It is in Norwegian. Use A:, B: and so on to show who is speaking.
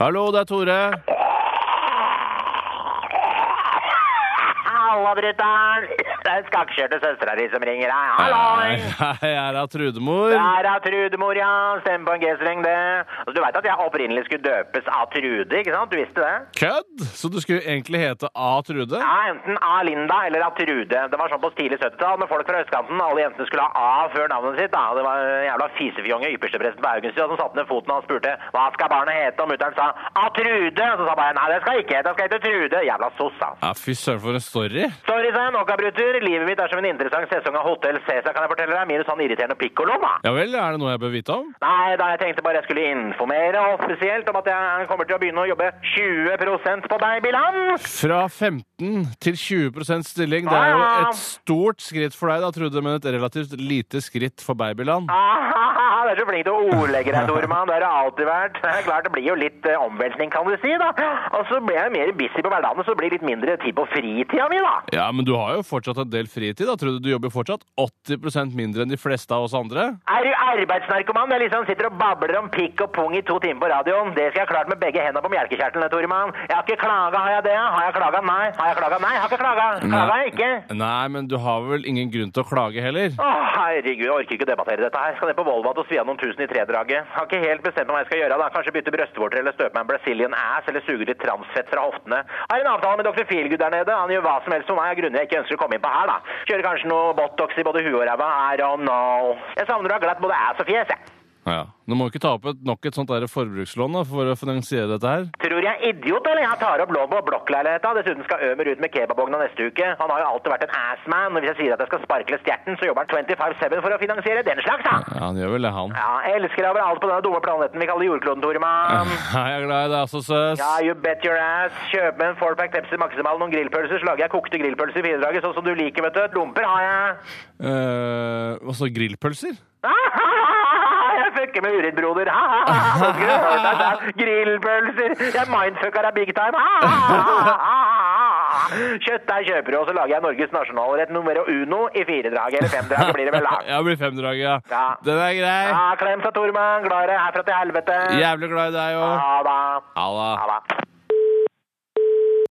A: Hallo, det er Tore.
B: Halla, brutter'n! Det er skakkskjørte søstera di som ringer deg.
A: Hei,
B: Hallo!
A: hei, jeg er av Trudemor.
B: Der er Trudemor, ja. Stemmer på en G-streng, det. Altså, Du veit at jeg opprinnelig skulle døpes av Trude, ikke sant? Du visste det?
A: Kødd! Så du skulle egentlig hete A. Trude?
B: Ja, enten A. Linda eller A. Trude. Det var sånn på tidlig 70-tall med folk fra østkanten. Alle jentene skulle ha A før navnet sitt. Da. Det var en jævla fisefjonge, ypperstepresten på Haugenstua, som satte ned foten og han spurte hva skal barnet hete, og mutter'n sa A. Trude. Så sa bare nei, det skal jeg ikke hete, det skal hete Trude. Jævla soss, altså.
A: Ja, Fy søren, for en story.
B: Sorry, sa jeg, nok av brutter. Livet mitt er som en interessant sesong av Hotel Cæsar, kan jeg fortelle deg. Minus han irriterende pikkoloen, da.
A: Ja vel, er det noe jeg bør vite om?
B: Nei, da jeg tenkte bare jeg skulle informere offisielt om at jeg kommer til å begynne å jobbe 20 på babyland.
A: Fra 15 til 20 stilling, det er jo et stort skritt for deg, da, Trude, men et relativt lite skritt for babyland.
B: Ah, du er så flink til å ordlegge deg, Nordmann. Det har du alltid vært. Det er klart, det blir jo litt eh, omveltning, kan du si, da. Og så blir jeg mer busy på hverdagen, så det blir litt mindre tid på fritida mi, da.
A: Ja, men du har jo fortsatt en del fritid, da, Trude. Du jobber jo fortsatt 80 mindre enn de fleste av oss andre.
B: Er du arbeidsnarkoman? Jeg liksom sitter og babler om pikk og pung i to timer på radioen. Det skal jeg ha klart med begge hendene på mjelkekjertelen, Toremann. Jeg har ikke klaga, har jeg det? Har jeg klaga? Nei. Har jeg klaga? Nei, jeg har ikke klaga. Klaga jeg ikke.
A: Nei, men du har vel ingen grunn til å klage heller?
B: Å, herregud, jeg orker ikke å debattere dette her. Skal ned på Volvat og svi av noen tusen i tredraget. Har ikke helt bestemt meg hva jeg skal gjøre, da. Kanskje bytte brystvorter eller støpe meg en Brazilian ass eller suge litt transfett fra hoftene. Har en avtale med dr. Feelgood der nede. Han gjør hva som helst for meg av grunner jeg ikke ønsker å komme inn på her, da. Kjører kanskje noe Botox i både huet og ræva. I don't know. Jeg savner å ha glatt både ass og fjes, jeg.
A: Ja. Nå må du ikke ta opp et, nok et sånt der forbrukslån da, for å finansiere dette her.
B: Tror jeg er idiot, eller? Jeg tar opp lån på blokkleiligheta. Dessuten skal Ømer ut med kebabvogna neste uke. Han har jo alltid vært en assman, og hvis jeg sier at jeg skal sparkle stjerten, så jobber han 25-7 for å finansiere den slags, da.
A: Ja, han gjør vel det, han.
B: Ja, jeg elsker overalt på denne dumme planeten vi kaller jordkloden, Toremann.
A: Hei, jeg er glad i deg, altså, søs.
B: Ja, you bet your ass. Kjøp med en fourpack Pepsi Maximal, noen grillpølser, så lager jeg kokte grillpølser i bidraget, sånn som du liker, vet du. Lomper har jeg.
A: Eh, Hva så, grillpølser?
B: Ah, Jeg fucker med Ah, urinbroder. Nå skal du høre deg selv. ah, Grillpølser. Jeg mindfucker deg big time. Ah, Kjøttdeig ah. kjøper du, og så lager jeg Norges nasjonalrett numero uno i firedraget. Eller femdraget blir det vel da. Ah,
A: Ja, det blir femdraget, ja.
B: Ja.
A: Den er grei.
B: Ja, klem seg, Tormann. Glad i deg herfra til helvete.
A: Jævlig glad i deg òg.
B: Ha det.
A: Ha det.
B: Ha det.